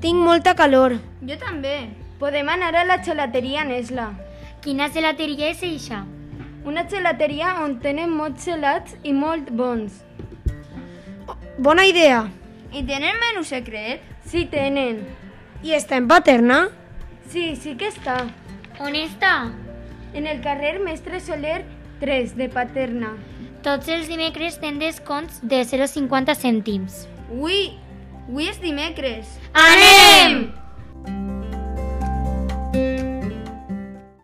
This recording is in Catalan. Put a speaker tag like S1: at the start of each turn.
S1: Tinc molta calor.
S2: Jo també. Podem anar a la gelateria Nesla.
S3: Quina gelateria és eixa?
S2: Una gelateria on tenen molts gelats i molt bons.
S1: Bona idea.
S2: I tenen menú secret? Sí, tenen.
S1: I està en Paterna?
S2: Sí, sí que està.
S3: On està?
S2: En el carrer Mestre Soler 3 de Paterna.
S3: Tots els dimecres tenen descompts de 0,50 cèntims.
S2: Ui, avui és dimecres.
S3: Anem!